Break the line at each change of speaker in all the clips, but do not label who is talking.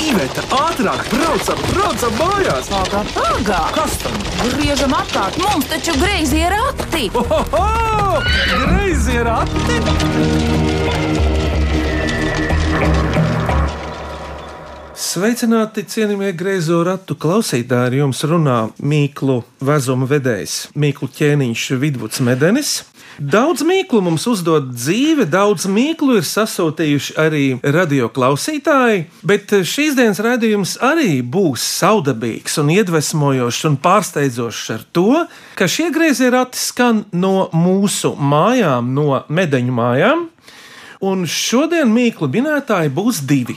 Iveta, ātrāk, braucam, braucam mājās!
Pagā, pagā!
Kas tam?
Griežam apkārt, mums taču greizi ir akti!
Ohoho! Greizi ir ati!
Sveicināti, cienījamie greizo ratu klausītāji! Ar jums runā Mīklu vezuma vedējs, Mīklu ķēniņš Vidvuds Medenis. Daudz mīklu mums uzdod dzīve, daudz mīklu ir sasūtījuši arī radio klausītāji, bet šīs dienas raidījums arī būs saudabīgs un iedvesmojošs un pārsteidzošs ar to, ka šie griezie rati skan no mūsu mājām, no medeņu mājām. Un šodien mīklu minētāji būs divi.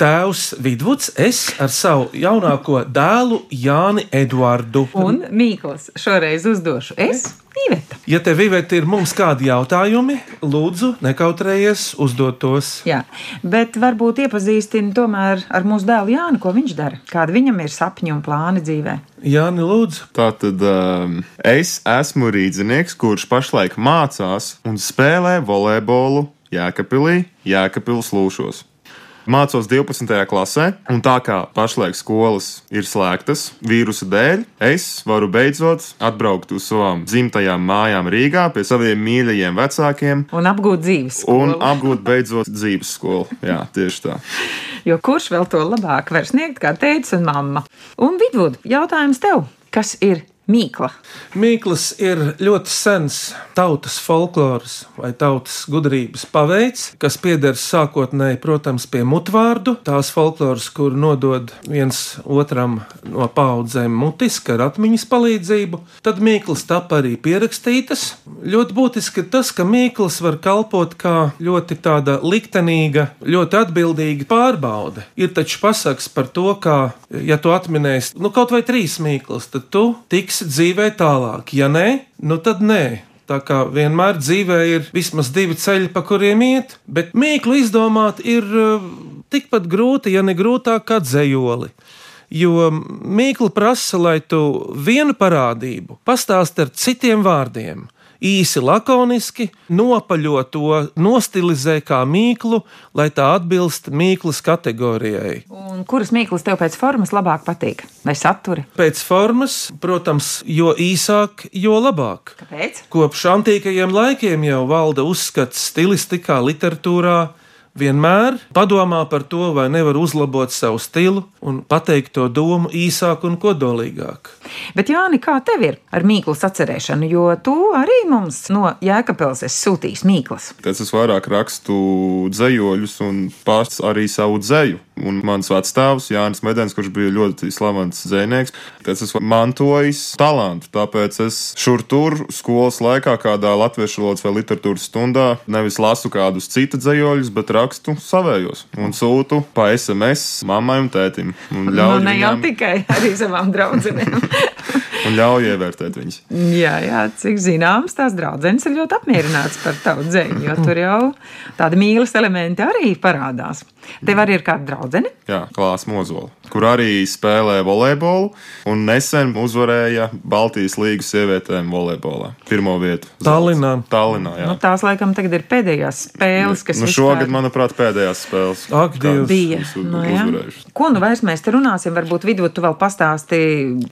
Tēvs Vidvuds, es ar savu jaunāko dēlu Jāni Eduardu.
Un Mīkls šoreiz uzdošu es, Iveta.
Ja tev Iveta, ir mums kādi jautājumi, lūdzu, nekautrējies uzdot tos.
Jā, bet varbūt iepazīstini tomēr ar mūsu dēlu Jānu, ko viņš dara, kāda viņam ir sapņi un plāni dzīvē.
Jāni, lūdzu,
Tātad um, es esmu rīznieks, kurš pašlaik mācās un spēlē volejbolu Jēkabīlī, Jēkabīlas lūšos. Mācos 12. klasē, un tā kā pašlaik skolas ir slēgtas vīrusa dēļ, es varu beidzot atbraukt uz savām dzimtajām mājām Rīgā pie saviem mīļajiem vecākiem
Un apgūt dzīves.
un
skolu.
apgūt beidzot dzīves skolu. Jā, tieši tā.
Jo kurš vēl to labāk var sniegt, kā teica un mamma? Un Vidvud, jautājums tev, kas ir Mīkla?
Mīkls ir ļoti sens tautas folkloras vai tautas gudrības paveids, kas pieder sākotnēji, protams, pie mutvārdu, tās folkloras, kur nodod viens otram no paudzēm mutiski ar atmiņas palīdzību. Tad Mīkls tapa arī pierakstītas. Ļoti būtiski ir tas, ka Mīkls var kalpot kā ļoti tāda liktenīga, ļoti atbildīga pārbaude. Ir taču pasakas par to, ka, ja tu atminēsi nu, kaut vai trīs mīklas, tad tu tiksi dzīvē tālāk. Ja nē, nu tad nē. Tā kā vienmēr dzīvē ir vismaz divi ceļi, pa kuriem iet, bet mīklu izdomāt ir eh, tikpat grūti, ja ne grūtāk, kā dzējoli. Jo mīklu prasa, lai tu vienu parādību pastāstītu ar citiem vārdiem. Īsi lakoniski, nopaļo to, nostilizē kā mīklu, lai tā atbilst mīklas kategorijai.
Un kuras Mīklas tev pēc formas labāk patīk? Vai satura?
Pēc formas, protams, jo īsāk, jo labāk.
Kāpēc?
Kopš antīkajiem laikiem jau valda uzskats stilistikā, literatūrā. Vienmēr padomā par to, vai nevar uzlabot savu stilu un pateikt to domu īsāk un kodolīgāk.
Bet, Jāni, kā tev ir ar mīklu atcerēšanu? Jo tu arī mums no Jēkabils esi sūtījis mīklas.
Tad es vairāk rakstu dzējoļus un pats arī savu dzēju. Un mans vecāks, Jānis Medens, kurš bija ļoti slavens dzinieks, tad es mantoju talantu. Tāpēc es šur tur skolas laikā, kādā latviešu valodas vai literatūras stundā, nevis lasu kādus citus dzējoļus, bet rakstu savējos un sūtu pa SMS mammai un tētim. Un ļauj,
Nu, ne jau
viņām,
tikai arī savām draudzenēm.
un ļauj ievērtēt viņus.
jā, jā, cik zināms, tās draudzenes ir ļoti apmierināts par tavu dzēju, jo tur jau tādi mīlas elementi arī parādās. Tev arī ir kāda draudzene?
Jā, klāsts Mozola, kur arī spēlē volejbolu un nesen uzvarēja Baltijas līnijas sievietēm volejbolā. Pirmā vieta.
Tallinā.
Tallinā jā.
Nu, tās laikam tagad ir pēdējās spēles, kas
nu, šogad, manuprāt, pēdējās spēles.
Ak, Dievs.
bija.
Nu,
Nu, jā. Ko nu vairs mēs te runāsim? Varbūt vidū tu vēl pastāsti,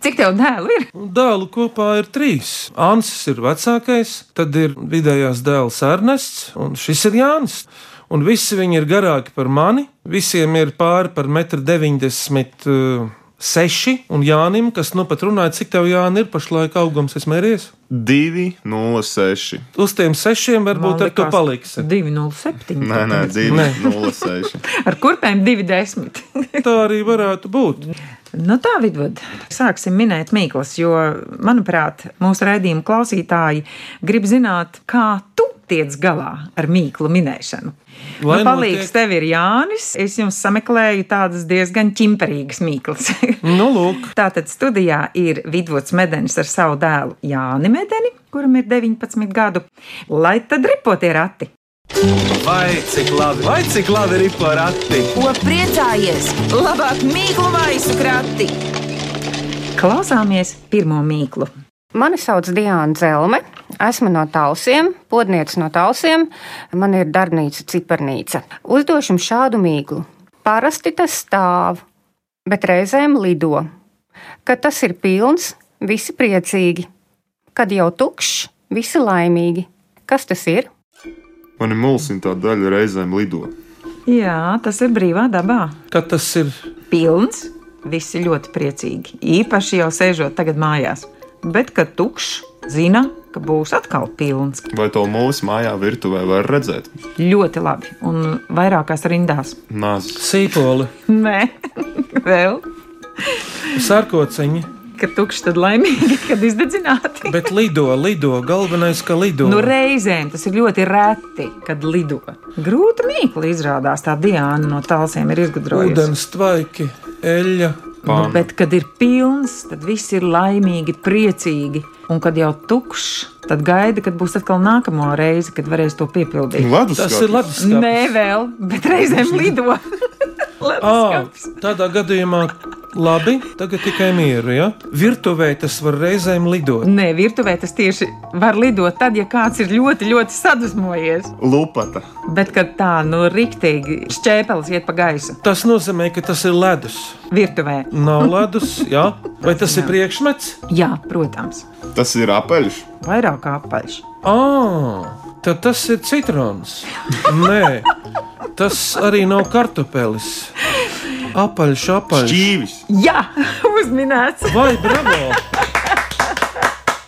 cik tev dēlu ir?
Dēlu kopā ir trīs. Ansis ir vecākais, tad ir vidējās dēls Ernests, un šis ir Jānis. Un visi viņi ir garāki par mani. Visiem ir pāri par 1,96 m. Un Jānim, kas nu pat runāja, cik tev Jāni ir pašlaik augums, es mērījos.
2,06.
Uz tiem sešiem varbūt ar to paliksi.
2,07.
Nē, nē,
Nē.
2,06.
Ar kurpēm 2,10.
Tā arī varētu būt.
nu, tā vidū sāksim minēt mīklas, jo, manuprāt, mūsu raidījuma klausītāji grib zināt, kā tu tiec galā ar mīklu minēšanu. Nu,
Lai
palīgs
notiek-
tev ir Jānis. Es jums sameklēju tādas diezgan ķimperīgas mīklas.
Nu, lūk,
Tātad studijā ir Vidvuds Medenis ar savu dēlu Jāni Medeni, kuram ir 19 gadu. Lai tad ripotie rati!
Vai cik labi, vai cik labi ir porati!
Ko priecājies? Labāk mīklu maisu krati!
Klausāmies pirmo mīklu.
Mani sauc Diana Zelme. Esmu no Talsiem, podniece no Talsiem. Man ir darbnīca Cipernīca. Uzdošu jums šādu mīklu. Parasti tas stāv, bet reizēm lido. Kad tas ir pilns, visi priecīgi. Kad jau tukšs, visi laimīgi. Kas tas ir?
Man ir mulsina tā daļa reizēm lido.
Jā, tas ir brīvā dabā.
Kad tas ir
Pilns, visi ļoti priecīgi. Īpaši jau sēžot tagad mājās. Bet, kad tukšs, zina, ka būs atkal pilns.
Vai to mūsu mājā virtuvē var redzēt?
Ļoti labi. Un vairākās rindās.
Nāc,
sīpoli,
Nē, vēl.
sarkociņi,
Kad tukšs, tad laimīgi, kad izdedzināti.
bet lido, lido. Galvenais, ka lido.
Nu, reizēm tas ir ļoti reti, kad lido. Grūti mīkli izrādās tā Diana no tālsiem ir izgudrojusi.
Ūdens tvaiki, eļļa.
Nu, bet, kad ir pilns, tad viss ir laimīgi, priecīgi. Un, kad jau tukšs, tad gaida, kad būs atkal nākamā reize, kad varēs to piepildīt.
ledus
Tas ir labs.
Nē, vēl, bet reizēm lido.
À,
Leduskapis.
tādā gadījumā labi, tagad tikai mieru. Ja? Virtuvē tas var reizēm lidot.
Nē, virtuvē tas tieši var lidot tad, ja kāds ir ļoti, ļoti sadusmojies.
Lupata.
Bet, kad tā nu rīktīgi šķēpelis iet pa gaisu
Tas nozīmē, ka tas ir ledus.
virtuvē,
Nav ledus, ja? vai tas ir priekšmets?
jā, protams,
Tas ir apaļš.
vairāk kā apaļš.
Ah, tad tas ir citrons. Nē, tas arī nav kartupelis. Apaļš, apaļš.
Čīvis.
Jā, uzminēts.
Vai bravo!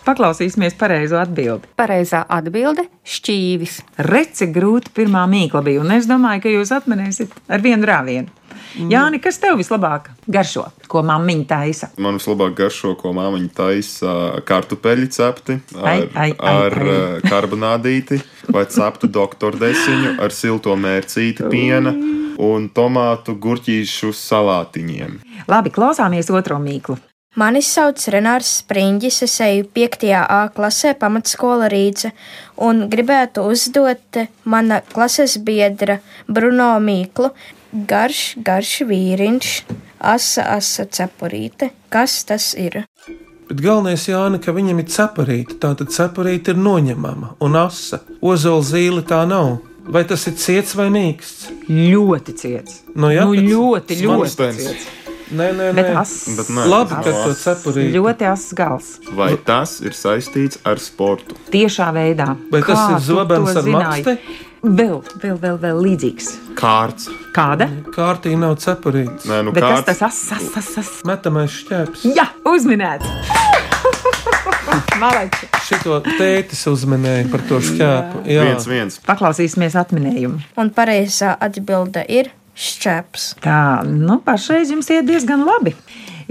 Paklausīsimies pareizo atbildi.
Pareizā atbilde - šķīvis.
Reci grūti pirmā mīkla bija, un es domāju, ka jūs atminēsiet ar vienu rāvienu. Jā, kas tev vislabāk garšo, ko māmiņa taisa?
Man vislabāk garšo, ko māmiņa taisa kartupeļi cepti ar,
Ai, ai, ai,
ar
ai.
ā, karbonādīti, vai ceptu doktordesiņu ar silto mērcīti piena un tomātu gurķīšu salātiņiem.
Labi, klausāmies otro mīklu.
Mani sauc Renārs Spriņģis, es eju 5. A klasē, pamatskola Rīce, un gribētu uzdot mana klases biedra Bruno Mīklu. Garš, garš vīriņš, asa, asa cepurīte. Kas tas ir?
Bet galvenais Jāni, ka viņam ir cepurīte. Tātad cepurīte ir noņemama un asa. Ozola zīle tā nav. Vai tas ir ciets vai mīksts?
Ļoti ciets.
Nu jā,
nu,
bet
ļoti, ļoti
smalkstens.
ciets.
Nē, nē, nē.
Bet ass.
Bet nē,
Labi,
tas
ka
nav
to
ass.
cepurīte.
Ļoti ass gals.
Vai tas ir saistīts ar sportu?
Tiešā veidā.
Vai tas
Kā
ir
tu
zobens
to
ar
zināji?
maksti?
Vēl, vēl, vēl, vēl līdzīgs.
Kārts.
Kāda?
Kārtī nav cepurītes.
Nē, nu
Bet kas
kārts.
tas ass, ass, ass, ass?
Metamais šķērs.
Jā, uzminēts! Malači!
Šito tētis uzmanēja par to šķēpu. Jā,
Viens, viens.
Paklausīsimies atminējumu.
Un pareizā atbilde ir šķēps.
Tā, nu, pašreiz jums iet diezgan labi.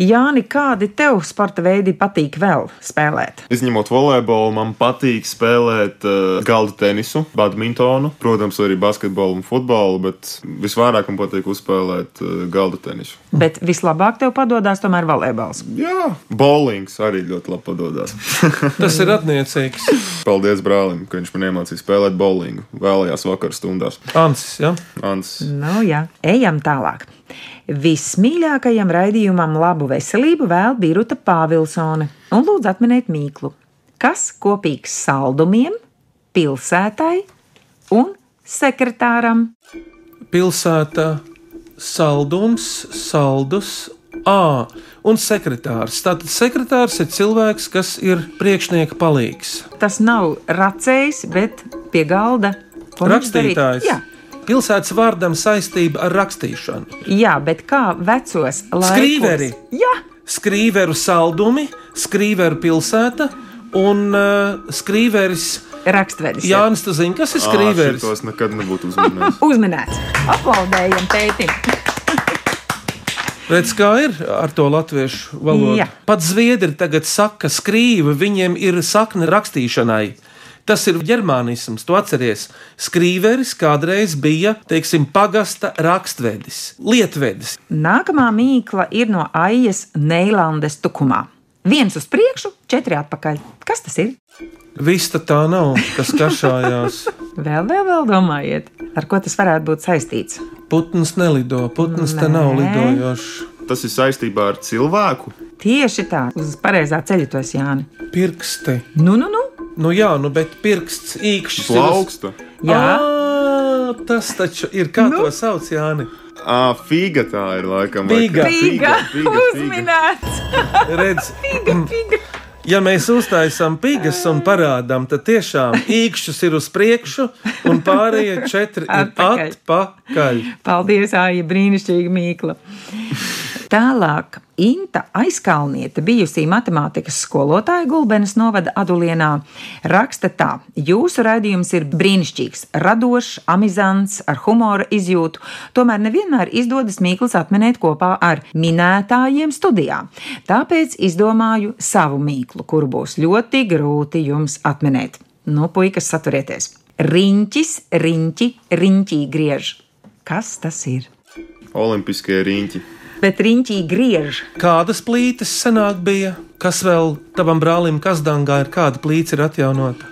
Jāni, kādi tev sporta veidi patīk vēl spēlēt?
Izņemot volejbolu, man patīk spēlēt uh, galdu tenisu, badmintonu, protams, arī basketbolu un futbolu, bet visvairāk man patīk uzspēlēt uh, galdu tenisu.
Bet vislabāk tev padodas tomēr volejbols.
Jā, bowlings arī ļoti labi padodas.
tas ir atniecīgs.
Paldies brālim, ka viņš man iemācīja spēlēt bowlingu vēlajās vakarā stundās.
Ansis, ja?
Ants,
Nu, jā, ejam tālāk. Vismīļākajam raidījumam labu veselību vēl Birta Pāvilsone. Un lūdzu atminiet mīklu, kas kopīgs saldumiem, pilsētai un sekretāram.
pilsēta, saldums, saldus. Ā, un sekretārs. Tātad sekretārs ir cilvēks, kas ir priekšnieka palīgs.
Tas nav racējs, bet pie galda Ko viņš darīt?
Rakstītājs.
Jā,
Pilsētas vārdam saistība ar rakstīšanu.
jā, bet kā vecos laikos?
Skrīveri.
Jā,
Skrīveru saldumi, skrīveru pilsēta un uh, skrīveris.
rakstvedis. ir.
Jānis, tu zini, kas ir skrīveris?
Tos nekad nebūtu uzmanīgs.
Uzminēts. Aplaudējam tētim.
Redz, kā ir ar to latviešu valodu.
Jā.
Pat zviedri tagad saka, ka skrīve viņiem ir sakne rakstīšanai. Tas ir ģermānisms, to atceries. Skrīveris kādreiz bija, teiksim, pagasta rakstvedis, lietvedis.
Nākamā mīkla ir no Aijas Neilandes tukumā. Viens uz priekšu, četri atpakaļ. Kas tas ir?
Vista tā nav, kas kašājās.
Vēl, vēl, vēl domājiet, ar ko tas varētu būt saistīts.
Putns nelido, putns te nav
Nē.
lidojošs.
Tas ir saistībā ar cilvēku.
Tieši tā, uz pareizā ceļa tu esi, Jāni.
Pirksti.
Nu, nu, nu.
Nu jā, nu bet pirksts īkšķis.
Plauksta.
Ah,
Jā,
Jā, tas taču ir kā nu? to sauc, Jāni.
Ah, fīga tā ir laikam.
Fīga.
Pīga!
fīga.
Uzminēts!
Redz, Mm.
Pīga, pīga!
ja mēs uztaisām pīgas un parādām, tad tiešām īkšķis ir uz priekšu, un pārējie četri ir
Atpakaļ.
atpakaļ.
Paldies, Aija, brīnišķīga mīkla. Tālāk Inta aizkalniete, bijusī matemātikas skolotāja Gulbenes novada Adulienā, raksta tā: Jūsu raidījums ir brīnišķīgs, radošs, amizants, ar humora izjūtu, tomēr nevienmēr izdodas mīklas atminēt kopā ar minētājiem studijā. Tāpēc izdomāju savu mīklu, kuru būs ļoti grūti jums atminēt. Nu, puikas, saturieties! Riņķis, riņķi, riņķī griež. Kas tas ir?
Olimpiskie riņķi.
Bet riņķī griež.
Kādas plītas senāk bija? Kas vēl tavam brālim Kazdangā ir kāda plīts ir atjaunota?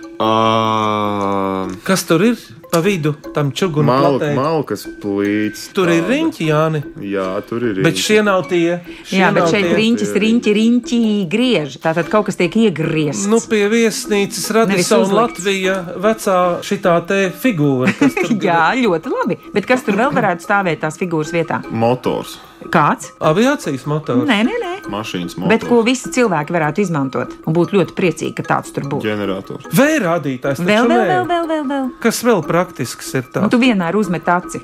Ah,
Kas tur ir pa vidu tam čugunam?
Malk, malkas plīts.
Tur ir riņķi, Jāni,
Jā, tur ir riņķi.
bet šie nav tie. Šie
Jā, bet
nav
šeit
tie.
riņķis, riņķi, riņķi griež. Tātad kaut kas tiek iegriezts.
Nu, pie viesnīcas
Nevis
radīja savu
uzlikts.
Latvijas vecā šitā te figūra. kas tur
Jā, ļoti labi. Bet kas tur vēl varētu stāvēt tās figūras vietā?
Motors,
Kāds?
Aviācijas motors.
Nē, nē, nē.
mašīnas
Bet ko
motors,
visi cilvēki varētu izmantot un būt ļoti priecīgi, ka tāds tur būtu.
ģenerators.
Vēl rādītājs.
Vēl,
taču
vēl,
nē.
vēl, vēl, vēl, vēl.
Kas vēl praktisks ir
Un
tāds?
tu vienmēr uzmet aci.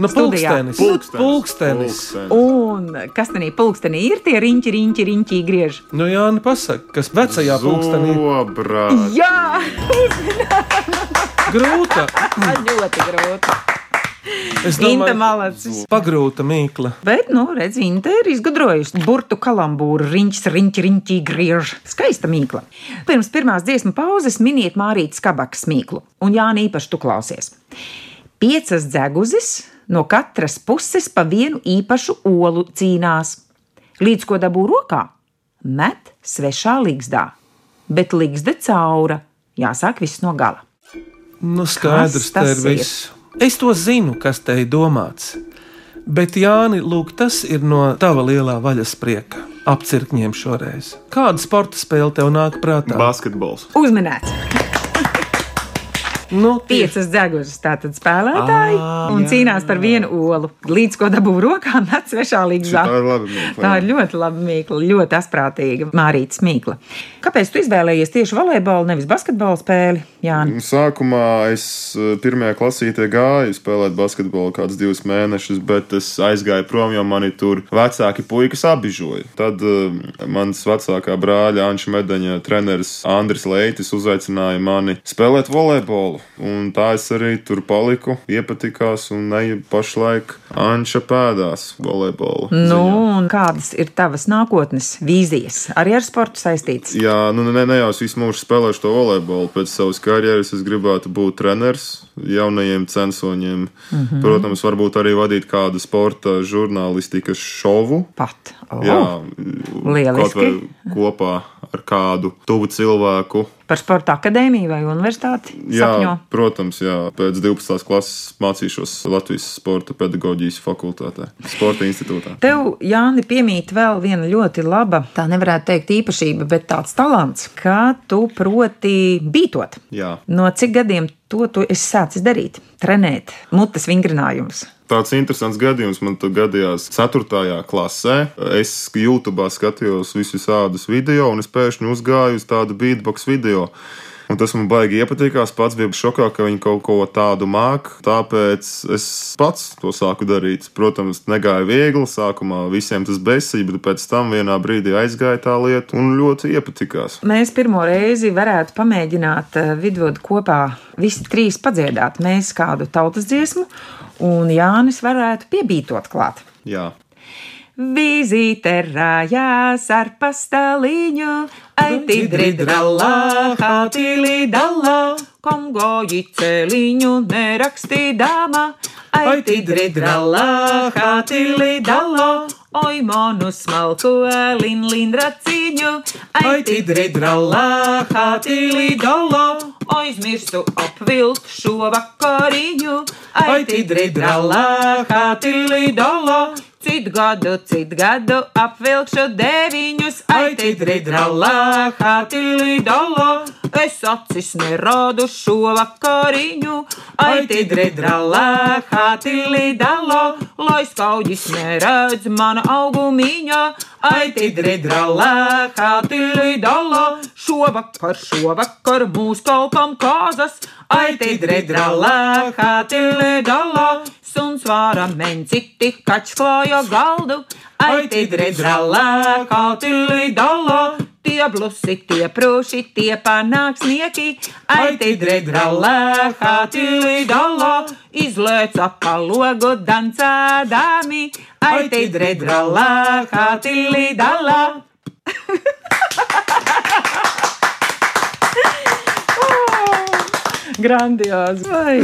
Nu,
studijā.
pulkstenis. Pulkstenis.
Un kas tenī pulkstenī ir tie riņķi, riņķi, riņķi griež?
Nu, jā, nu pasaka, kas vecajā pulkstenī ir
Zobrā.
Jā,
grūta.
ļoti grūti.
Es
Inta
domāju,
malacis.
pagrūta mīkla.
Bet, nu, redz, Inte ir izgudrojusi burbuļu kalambūru, riņķis, riņķis, riņķis, griež. Skaista mīkla. Pirms pirmās dziesmu pauzes miniet Mārītas kabakas mīklu, un Jānis īpaši tu klausies. Piecas dzeguzes no katras puses pa vienu īpašu olu cīnās. Līdz ko dabū rokā, met svešā līgzdā, bet līgzde caura jāsāk viss no gala.
Nu, skaidrs, tā
tas
ir viss. Es to zinu, kas te ir domāts. Bet, Jāni, lūk, tas ir no tava lielā vaļas prieka. Apcirkņiem šoreiz. Kāda sporta spēle tev nāk prātā?
Basketbols.
Uzminēts!
nu, tieši-
piecas dzegušas tātad spēlētāji
Ā,
un
jā.
cīnās par vienu olu. Līdz ko dabū rokā, nāc svešā līgzā.
Tā ir labi. mīkla,
Tā
jā.
ir ļoti laba mīkla, ļoti asprātīga Mārītas mīkla. Kāpēc tu izvēlējies tieši volejbolu, nevis basketbolu spēli? Jā,
Sākumā es eh, pirmajā klasītē gāju spēlēt basketbolu kaut kādus divus mēnešus, bet es aizgāju prom, jo mani tur vecāki puikas apbižoja. Tad eh, mans vecākā brāļa Anša Medaņa treneris Andris Leitis uzaicināja mani spēlēt volejbolu. Un tā es arī tur paliku, iepatikās un eju pašlaik Anša pēdās volejbolu.
nu,
ziņā.
un kādas ir tavas nākotnes vīzijas? Arī ar sportu saistītas.
Jā, nu ne, ne jau es visu mūžu spēlēšu to volejbolu. Pēc savas karjeras es gribētu būt treneris jaunajiem censoņiem. Mm
Mhm.
-hmm. Protams, varbūt arī vadīt kādu sporta žurnālistikas šovu.
Pat. Oh. O,
Jā,
lieliski.
kaut vai kopā ar kādu tuvu cilvēku.
Par sporta akadēmiju vai universitāti?
Jā,
Sapņo.
protams, jā. pēc 12. klases mācīšos Latvijas sporta pedagoģijas fakultātē, sporta institūtā.
Tev, Jāni, piemīt vēl viena ļoti laba, tā nevarētu teikt īpašība, bet tāds talants, ka tu proti bītot.
Jā.
No cik gadiem to tu esi sācis darīt? Trenēt, mutes vingrinājumus.
Tāds interesants gadījums man te gadījās 4. klasē. Es YouTube skatījos visus tādus video, un es pēkšņi uzgāju uz tādu beatbox video. Un tas man baigi iepatikās. Pats biju šokā, ka viņi kaut ko tādu māku. Tāpēc es pats to sāku darīt. Protams, negāja viegli. Sākumā visiem tas besīja, bet pēc tam vienā brīdī aizgāja tā lieta un ļoti iepatikās.
Mēs pirmo reizi varētu pamēģināt eh, vidūdu kopā visi trīs padziedāt. Mēs kādu tautas dziesmu, un Jānis varētu piebītot klāt.
Jā.
Vizīte rājās ar pastāliņu, aitidridralā, hatilidalā, kongoji celiņu nerakstīdama, aitidridralā, hatilidalā, oi monu smalku elin lindraciņu, aitidridralā, hatilidalā, aizmirstu apvilkt šo vakariņu, aitidridralā, hatilidalā. Citu gadu, citu gadu apvilkšu deviņus, aititri drālā, hatīlī dolā. Es acis nerodu šo vakariņu, aititri drālā, hatīlī dolā. Lai skauģis neredz mana augumiņa, aititri drālā, hatīlī dolā. Šovakar, šovakar mūs kalpam kāzas, aititri drālā, hatīlī dolā. Suns vāra menciti, kaķis klāja galdu, aiti drēdralā, kautili dalā. Tie blusi, tie prūši, tie panāksnieki, aiti drēdralā, kautili dalā. Izlēca pa logu dancādami, aiti drēdralā, kautili dalā. Grandiozi! Vai.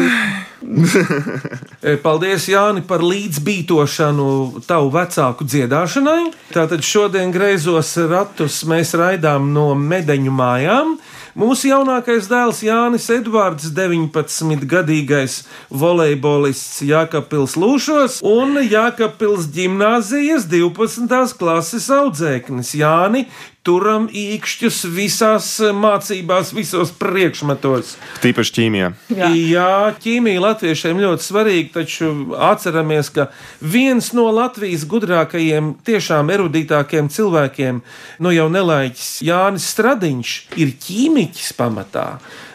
E, Paldies, Jāni, par līdzbītošanu tavu vecāku dziedāšanai. Tātad šodien greizos ratus mēs raidām no medaļu mājām. Mūsu jaunākais dēls Jānis Edvards, 19-gadīgais volejbolists Jākapils Lūšos un Jākapils ģimnāzijas 12. klases audzēknis Jāni. Turam īkšķus visās mācībās, visos priekšmetos.
Tīpaši ķīmijā.
Jā. Jā, ķīmija latviešiem ļoti svarīga, taču atceramies, ka viens no Latvijas gudrākajiem, tiešām erudītākiem cilvēkiem, nu jau nelaiķis Jānis Stradiņš, ir ķīmiķis pamatā.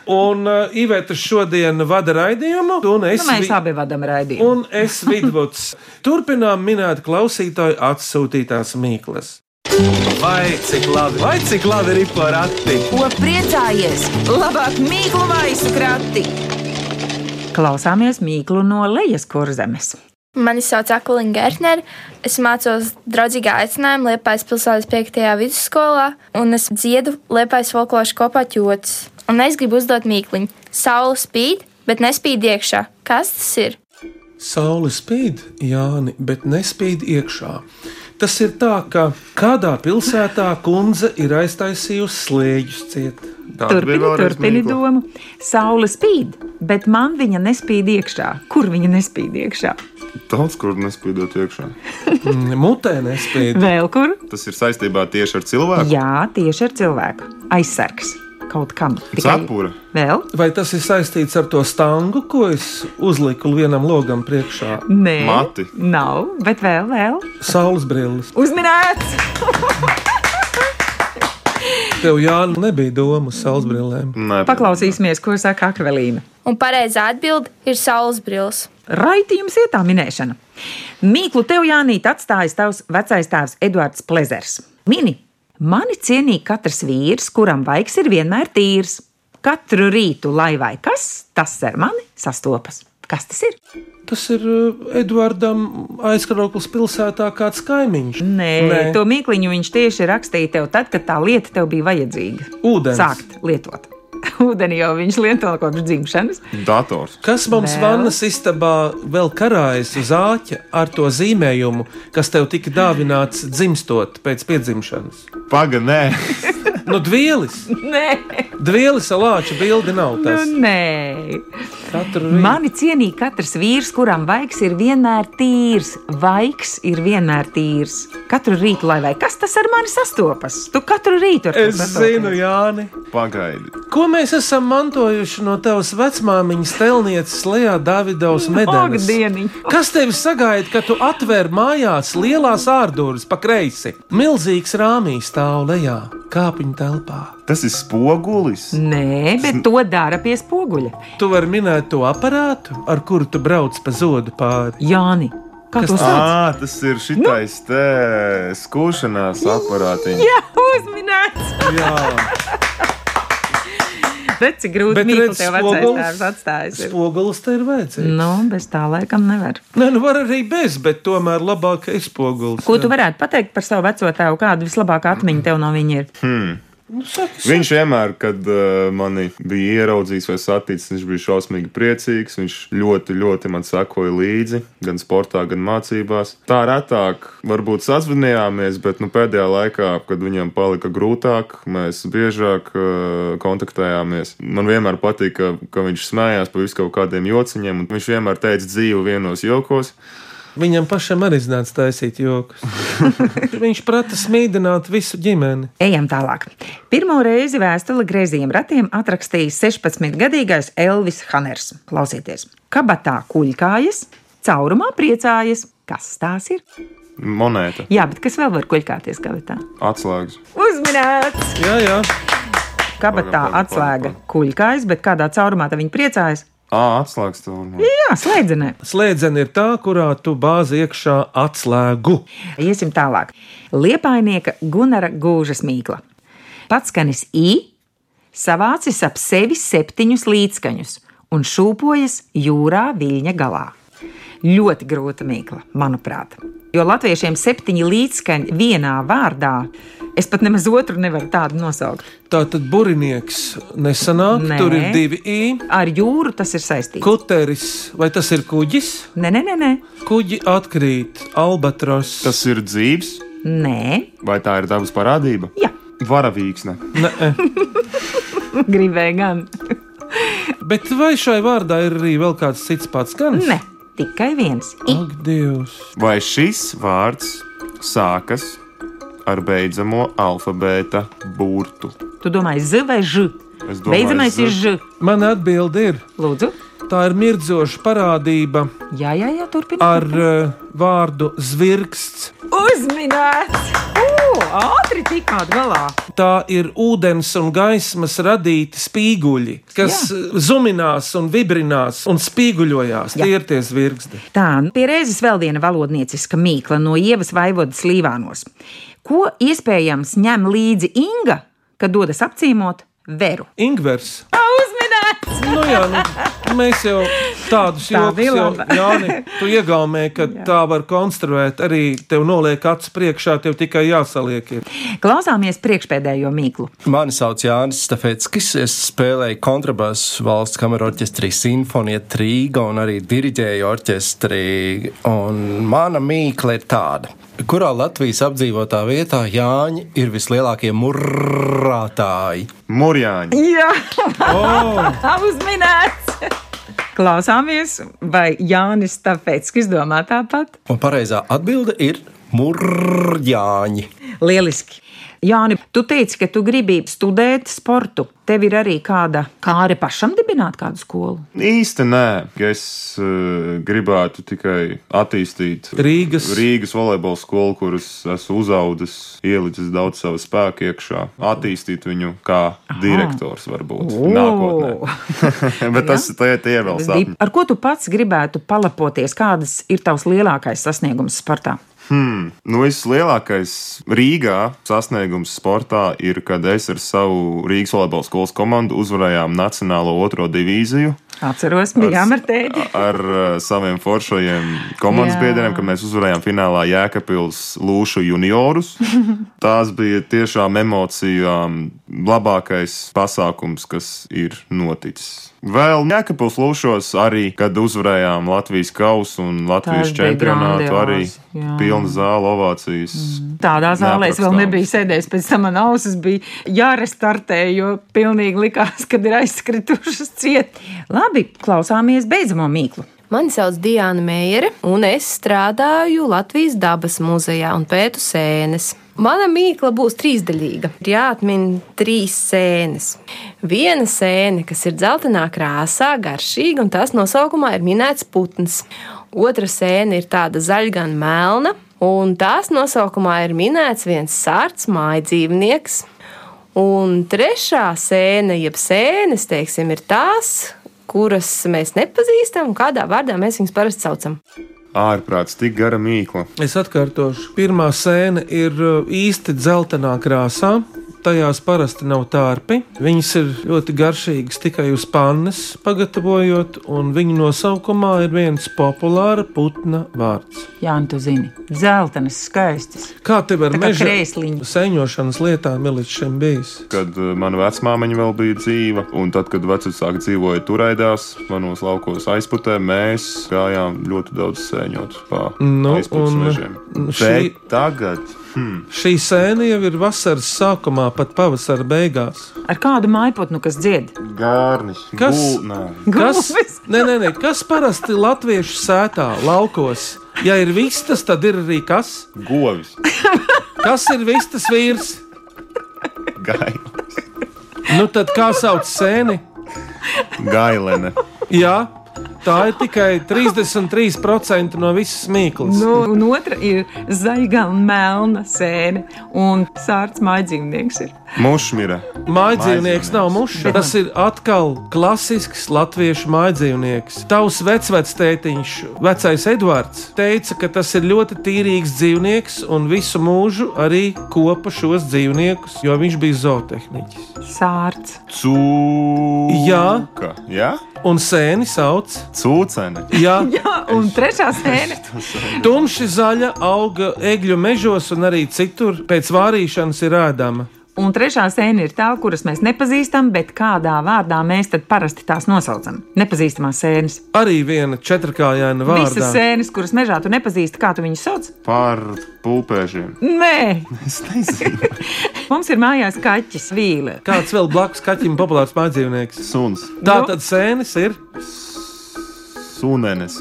Un uh, Iveta šodien vada raidījumu, un es,
Nu, mēs
vi-
abi vadām raidījumu.
un es Vidvuds. Turpinām minēt klausītāju atsūtītās mīklas.
Vai cik labi, vai cik labi ir porati?
Ko priecājies? Labāk mīklu maisu krati!
Klausāmies Mīklu no lejas kurzemes.
Mani sauc Akulina Gērtner. Es mācos draudzīgā aicinājumā Liepājas pilsētas 5. vidusskolā, un es dziedu Liepājas folkloras kopā ķots. Un es gribu uzdot mīkliņu. Saule spīd, bet nespīd iekšā. Kas tas ir?
Saule spīd, Jāni, bet nespīd iekšā. Tas ir tā, ka kādā pilsētā kundze ir aiztaisījusi slēdzus ciet.
Tāda bija
Turpini,
vēlreiz
turpini
mīkla.
domu. Saule spīd, bet man viņa nespīd iekšā. Kur viņa nespīd iekšā?
Daudz kur nespīdot iekšā.
Mm, Mutē nespīd.
Vēl kur?
Tas ir saistībā tieši ar cilvēku.
Jā, tieši ar cilvēku. Aizsargs kaut kam.
Sapūra.
Vēl?
Vai tas ir saistīts ar to stangu, ko es uzliku vienam logam priekšā?
Nē,
Mati.
Nav, bet vēl, vēl.
Saules brilles.
Uzminēts!
Tev, Jāni, nebija doma uz saules brillēm.
Mm.
Nē,
Paklausīsimies, ko saka Akvelīna.
Un pareizā atbilde ir saules brils.
Raitījums ir tā minēšana. Mīklu tev, Jānīt, atstājis tavs vecais tēvs Edvards Plezers. Mini, mani cienīja katrs vīrs, kuram vaigs ir vienmēr tīrs. Katru rītu, lai vai kas, tas ar mani sastopas. Kas tas ir?
Tas ir uh, Edvardam aizkaroklis pilsētā kāds kaimiņš.
Nē, Nē. to mīkliņu viņš tieši rakstīja tev tad, kad tā lieta tev bija vajadzīga.
Ūdens.
Sākt lietot. Ūdeni jau viņš lieto kopš dzimšanas.
Dators.
Kas mums
Vēl?
vannas istabā vēl karājas uz āķa ar to zīmējumu, kas tev tika dāvināts dzimstot pēc piedzimšanas?
Paga, nē.
Nu, dvielis,
Nē,
dvielis alāča bildi nav
nu,
tas.
nē.
Katru rītu.
Mani cienīja katrs vīrs, kuram vaigs ir vienmēr tīrs. Vaigs ir vienmēr tīrs. Katru rītu, lai vai kas tas ar mani sastopas, tu katru rītu ar to
Es
sastopies.
zinu, Jāni.
Pagaidi.
Ko mēs esam mantojuši no tavas vecmāmiņas telnieces Lējā Davidovas
Nu,
medaļas?
Akdieniņ.
Kas tevi sagaida, kad tu atver mājās lielās ārdūras pa kreisi? Milzīgs rāmīs stāv lejā, kāpiņu telpā.
Tas ir spogulis.
Nu, Nē, bet to dara pie spoguļa.
Tu vari minēt to aparātu, ar kuru tu brauc pa zodu pāri.
Jāni, kā
Kas
tu sauc?
Ā, tas ir šitais te skūšanās aparātiņš.
Jā, uzminēts!
Jā,
Bet cik grūti
bet
mīklu
redz,
tev vecais
spogulis,
tēvs atstājis. ir.
spogulis te ir vajadzīgs.
Nu, bez tā laikam nevar.
Nē, nu var arī bez, bet tomēr labākais spogulis.
Ko tu varētu pateikt par savu veco tēvu? Kāda vislabākā atmiņa tev no viņa ir?
Nu, saki,
Viņš vienmēr, kad uh, mani bija ieraudzījis vai saticis, viņš bija šausmīgi priecīgs. Viņš ļoti, ļoti man sekoja līdzi, gan sportā, gan mācībās. Tā retāk, varbūt sazvanījāmies, bet nu, pēdējā laikā, kad viņam palika grūtāk, mēs biežāk uh, kontaktējāmies. Man vienmēr patika, ka viņš smējās par visu kaut kādiem jociņiem, un viņš vienmēr teica dzīvu vienos jokos.
Viņam pašam arī iznāca taisīt joks. Viņš prata smīdināt visu ģimeni.
Ejam tālāk. Pirmo reizi vēstuli grēzījiem ratiem atrakstīja 16-gadīgais Elvis Haners. Klausieties, kabatā kuļkājas, caurumā priecājas. Kas tās ir?
Monēta,
Jā, bet kas vēl var kuļkāties kabatā?
atslēgas.
Uzminēts!
Jā, jā.
Kabatā
Pagaid, pagaid,
atslēga
pagaid,
kuļkājas, bet kādā caurumā tā viņa priecājas?
Ā, atslēgas tev. man.
Jā, slēdzenē.
Slēdzena ir tā, kurā tu bāzi iekšā atslēgu.
Iesim tālāk. Liepainieka Gunara Gūžas mīkla. Patskanis I savācis ap sevi septiņus līdzskaņus un šūpojas jūrā viļņa galā. Ļoti grūta mīkla, manuprāt. Jo latviešiem septiņi līdzskaņi vienā vārdā. Es pat nemaz otru nevaru tādu nosaukt.
Tā tad burinieks nesanāk,
Nē.
Nē. tur ir divi i.
Ar jūru tas ir saistīts.
Kuteris, vai tas ir kuģis?
Nē, nē, nē, nē.
Kuģi atkrīt, albatros.
Tas ir dzīves,
nē.
vai tā ir dabas parādība?
Jā,
Varavīksne.
gribēju gan.
Bet vai šai vārdā ir arī vēl kāds cits pats gan?
Nē, tikai viens. I.
Ak, Dievs!
Vai šis vārds sākas ar beidzamo alfabēta burtu?
Tu domā, Z vai Ž?
Es domāju,
Beidzamais
Z.
ir Ž.
Man atbildi ir,
Lūdzu,
tā ir mirdzoša parādība
jā, jā, jā turpiniet.
ar uh, vārdu zvirksts.
Uzminēts! Ātri tikāt galā!
Tā ir ūdens un gaismas radīti spīguļi, kas Jā. zuminās un vibrinās un spīguļojās. Tie ir tie zvirgsti.
Tā, nu, pie reizes vēl viena valodnieciska mīkla no Ievas Vaivodas Līvānos. Ko iespējams ņem līdzi Inga, kad dodas apciemot veru?
Ingvers.
Uzminēts!
Nu, jā, nu, mēs jau tādus
Tā
joks,
bija
jau
laba.
Jāni, tu iegaumēji, ka jā. tā var konstruēt. Arī tev noliek acis priekšā, tev tikai jāsaliek. Ir.
Klausāmies priekšpēdējo mīklu.
Mani sauc Jānis Stefetskis. Es spēlēju kontrabasu valsts kameru orķestrī Sinfonija Trīga un arī diriģēju orķestrī. Un mana mīkla ir tāda. Kurā Latvijas apdzīvotā vietā Jāņi ir vislielākie murrātāji?
Mūrjāņi.
Jā, uzminēts! Klausāmies, vai Jānis Stafetskis domā tāpat?
Un pareizā atbilde ir murrāņi.
Lieliski. Jāni, tu teici, ka tu gribi studēt sportu. Tev ir arī kāda kāre pašam dibināt kādu skolu.
Īsti nē, es uh, gribētu tikai attīstīt
Rīgas.
Rīgas volejbola skolu, kuras esmu uzaugusi, ielicis daudz sava spēka iekšā, attīstīt viņu kā direktors, varbūt
O!
nākotnē. Bet tas tie, tie ir vēl sapņi.
Ar ko tu pats gribētu palapoties? Kādas ir tavs lielākais sasniegums sportā?
Nu, vislielākais Rīgā sasniegums sportā ir, kad es ar savu Rīgas volejbola skolas komandu uzvarējām Nacionālo otro divīziju.
Atceros, mīļā Martēdi.
ar uh, saviem foršajiem komandas
Jā.
biedriem, kad mēs uzvarējām finālā Jēkabils Lūšu juniorus. Tās bija tiešām emocijām labākais pasākums, kas ir noticis. Vēl Jēkabils Lūšos arī, kad uzvarējām Latvijas kausu un Latvijas
Tas bija
čempionātu, arī
grandiozi, jā.
pilna zāla ovācijas. Mm.
Tādā zālē es vēl
Neaprakstāms.
nebiju sēdējis, pēc tam man ausis bija jārestartē, jo pilnīgi likās, ka ir aizskritušas ciet. Labi, klausāmies beidzamo mīklu.
Mani sauc Diana Meijere, un es strādāju Latvijas dabas muzejā un pētu sēnes. Mana mīkla būs trīsdaļīga. Ir jāatmin trīs sēnes. Viena sēne, kas ir dzeltenā krāsā, garšīga, un tās nosaukumā ir minēts putns. Otra sēne ir tāda zaļa, gan melna, un tās nosaukumā ir minēts viens sārts māja dzīvnieks. Un trešā sēne, jeb sēnes, teiksim, ir tās, kuras mēs nepazīstam, un kādā vārdā mēs viņus parasti saucam.
Ārprāts, tik gara mīkla.
Es atkārtošu, pirmā sēna ir uh, īsti dzeltenā krāsā. Tajās parasti nav tārpi. Viņas ir ļoti garšīgas tikai uz pannas, pagatavojot, un viņu nosaukumā ir viens populāra putna vārds.
Jā, nu tu zini, dzeltenas, skaistas.
Kā tev ar
Tā kā
meža
krēsliņi.
sēņošanas lietām ir līdz šim bijis?
Kad uh, mana vecmāmiņa vēl bija dzīva, un tad, kad vecāki dzīvoja turaidās, manos laukos aizputē, mēs gājām ļoti daudz sēņot pa
Nu,
aizputes
un,
mežiem.
un
Šī...
šī-
Tagad hmm,
Šī sēne jau ir vasaras sākumā, pat pavasara beigās.
Ar kādu mājputnu, kas dzied?
gārnis,
Kas?
gulnā.
Kas,
Gulbis.
nē, nē, nē, kas parasti latviešu sētā, laukos Ja ir vistas, tad ir arī kas?
Govis,
Kas ir vistas vīrs?
gailēns,
Nu tad kā sauc sēni?
gailēne.
Jā, tā ir tikai 33% no visas mīklas.
Nu, un otra ir zaļā un melna sēne, un sārts mājdzīvnieks ir.
Mušmira,
Mājdzīvnieks nav muša. Tas ir atkal klasisks latviešu mājdzīvnieks. Tavs vecvectētiņš, vecais Edvards, teica, ka tas ir ļoti tīrīgs dzīvnieks un visu mūžu arī kopa šos dzīvniekus, jo viņš bija zootehniķis.
Sārts.
cūka, jā,
Un sēni sauc,
cūcene,
ja
Jā, un trešā sēne.
tumši zaļa auga egļu mežos un arī citur pēc vārīšanas ir ēdama.
Un trešā sēne ir tā, kuras mēs nepazīstam, bet kādā vārdā mēs tad parasti tās nosaucam. Nepazīstamās sēnes.
Arī viena četrkājaina
Visas
vārda.
sēnes, kuras mežā tu nepazīsti, kā tu viņus sauc?
par pulpēžiem.
Nē,
Es nezinu,
mums ir mājās kaķis, vīle.
Kāds vēl blakus kaķim populārs mājdzīvnieks?
suns,
Tā tad sēnes ir.
sunenes,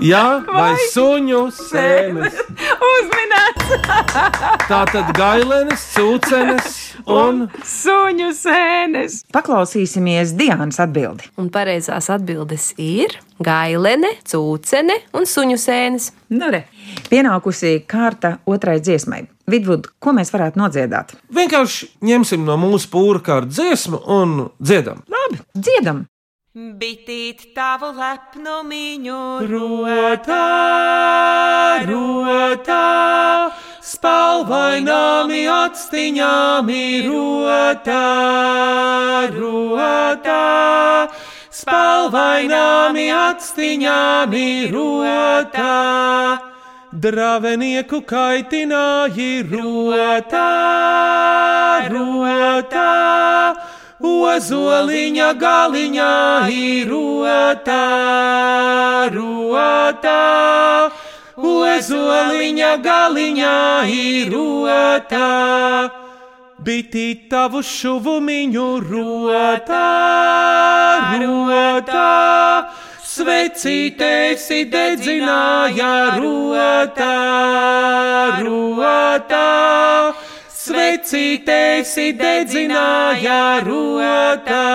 Jā, vai suņu sēnes.
Uzminēts
Tā tad gailenes, sūcenes un
suņu sēnes. Paklausīsimies Dienas atbildi.
Un pareizās atbildes ir gailene, cūcene un suņu sēnes.
Nu, re. Pienākusi kārta otrai dziesmai. Vidvud, ko mēs varētu nodziedāt?
vienkārši ņemsim no mūsu pūra kārtu dziesmu un dziedam.
Labi, dziedam!
Bitīt tavu lepnu miņu
Rotā, rotā, spalvaināmi atstiņāmi, rotā, rotā, spalvaināmi atstiņāmi, rotā. Dravenieku kaitināji, rotā, rotā, ozoliņa galiņā ir rotā, rotā, ozoliņa galiņā ir rotā. Bitī tavu šuvumiņu rotā, rotā, svecītēs dedzināja rotā, rotā, svecītēs dedzināja rotā.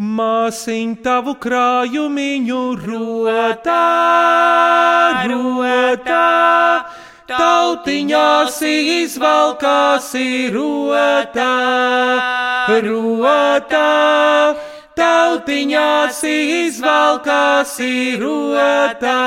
Māsiņ tavu krājumiņu rotā, rotā, tautiņās izvalkās ir rotā, rotā, tautiņās izvalkās ir rotā.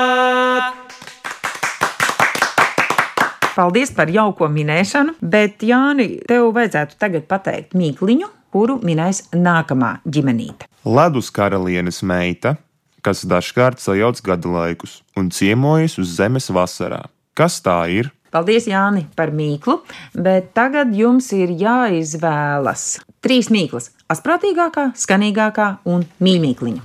Paldies par jauko minēšanu, bet Jāni, tev vajadzētu tagad pateikt mīkliņu, kuru minēs nākamā ģimenīte.
ledus karalienes meita, kas dažkārt sajauc gadu laikus un ciemojas uz zemes vasarā. Kas tā ir?
Paldies, Jāni, par mīklu, bet tagad jums ir jāizvēlas trīs mīklas - asprātīgākā, skanīgākā un mīmīkliņa.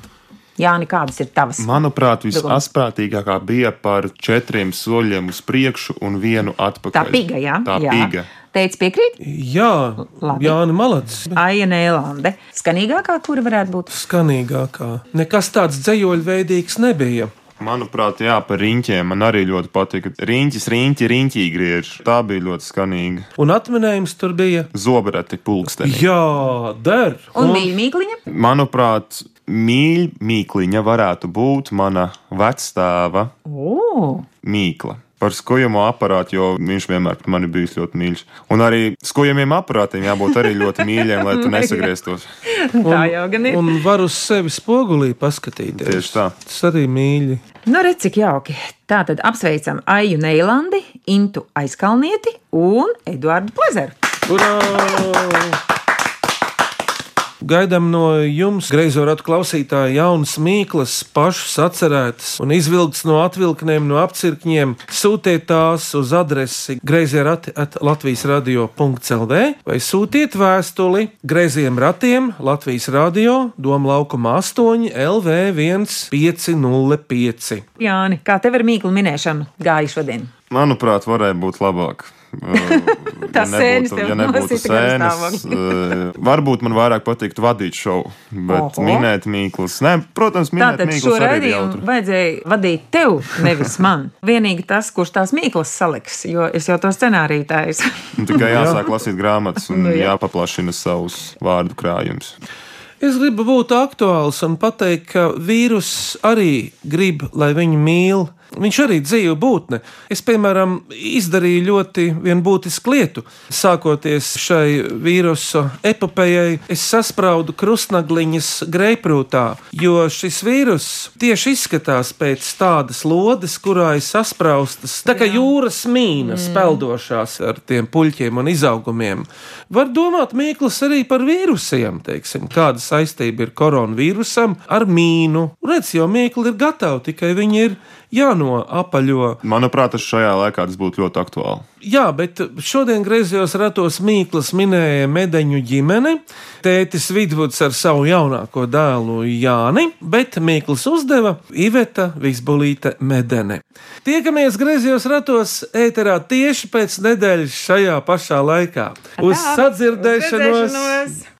Jāni, kādas ir tavas?
Manuprāt, visasprātīgākā bija par četriem soļiem uz priekšu un vienu atpakaļ.
Tā piga, jā.
Tā
jā.
piga.
Teic, piekrīt?
Jā,
Labi.
Jānis Malacis.
Aija Nēlande. Skanīgākā, kura varētu būt?
Skanīgākā. Nekas tāds dzējoļveidīgs nebija.
Manuprāt, jā, par riņķiem man arī ļoti patika. Riņķis, riņķi, riņķī griež. Tā bija ļoti skanīga.
Un atminējums tur bija.
Zobrati pulksteni.
Jā, der.
Un mīmīkliņa?
Manuprāt, mīļa mīkliņa varētu būt mana vecstāva
O,
mīkla. Par skojamo aparātu, jo viņš vienmēr par mani bijis ļoti mīļš. Un arī skojamiem aparātiem jābūt arī ļoti mīļiem, lai tu nesagrieztos.
tā jau gan ir.
Un var uz sevi spogulī paskatīties.
Tieši tā.
Tas arī mīļi.
Nu, redz, cik jauki. Tā tad apsveicam Aiju Neilandi, Intu Aizkalnieti un Eduardu Plezeru.
Urā! Gaidām no jums, greizo ratu klausītāji, jaunas mīklas, pašas atcerētas un izvilktas no atvilknēm, no apcirkņiem. Sūtiet tās uz adresi greizie rati at Latvijas radio. CELV vai sūtiet vēstuli greiziem ratiem Latvijas radio Doma laukuma 8 LV1505.
Jāni, kā tev ar mīklu minēšanu gāja šodien?
Manuprāt, varēja būt labāk. Tā
Tās sēnes tev
ja nebūtu
nosita garā
sēnes, eh, varbūt man vairāk patiktu vadīt šovu, bet
Oho.
minēt mīklus. Nē, protams, minēt
Tātad šo
mīklus arī ir
raidījumu
jautri.
vajadzēja vadīt tev, nevis man. Vienīgi tas, kurš tās mīklas saliks, jo es jau to scenāriju taisu.
Un Tikai jāsāk lasīt grāmatas un
Nu, jā.
jāpaplašina savus vārdu krājumus.
Es gribu būt aktuāls un pateikt, ka vīruss arī grib, lai viņu mīl. Viņš arī ir dzīva būtne. Es, piemēram, izdarīju ļoti vienbūtisku lietu. Sākoties šai vīrusu epopējai, es sasprādu krustnagliņas greiprūtā, jo šis vīruss tieši izskatās pēc tādas lodes, kurā ir saspraustas tā kā jūras mīnas, mm. peldošās ar tiem puļķiem un izaugumiem. Var domāt, Mīklis, arī par vīrusiem, teiksim, kāda saistība ir koronavīrusam ar mīnu. Redz, jau Mīklis ir gatavs, tikai viņi ir jānoapaļo.
Manuprāt, tas šajā laikā tas būtu ļoti aktuāli.
Jā, bet šodien griezījos ratos Mīklis minēja medaļu ģimeni, tētis Vidvuds ar savu jaunāko dēlu Jāni, bet Mīklis uzdeva Iveta Visbulīte medeni. Tiekamies griezījos ratos ēterā tieši pēc nedēļas šajā pašā laikā. Uz sadzirdēšanos!
sadzirdēšanos!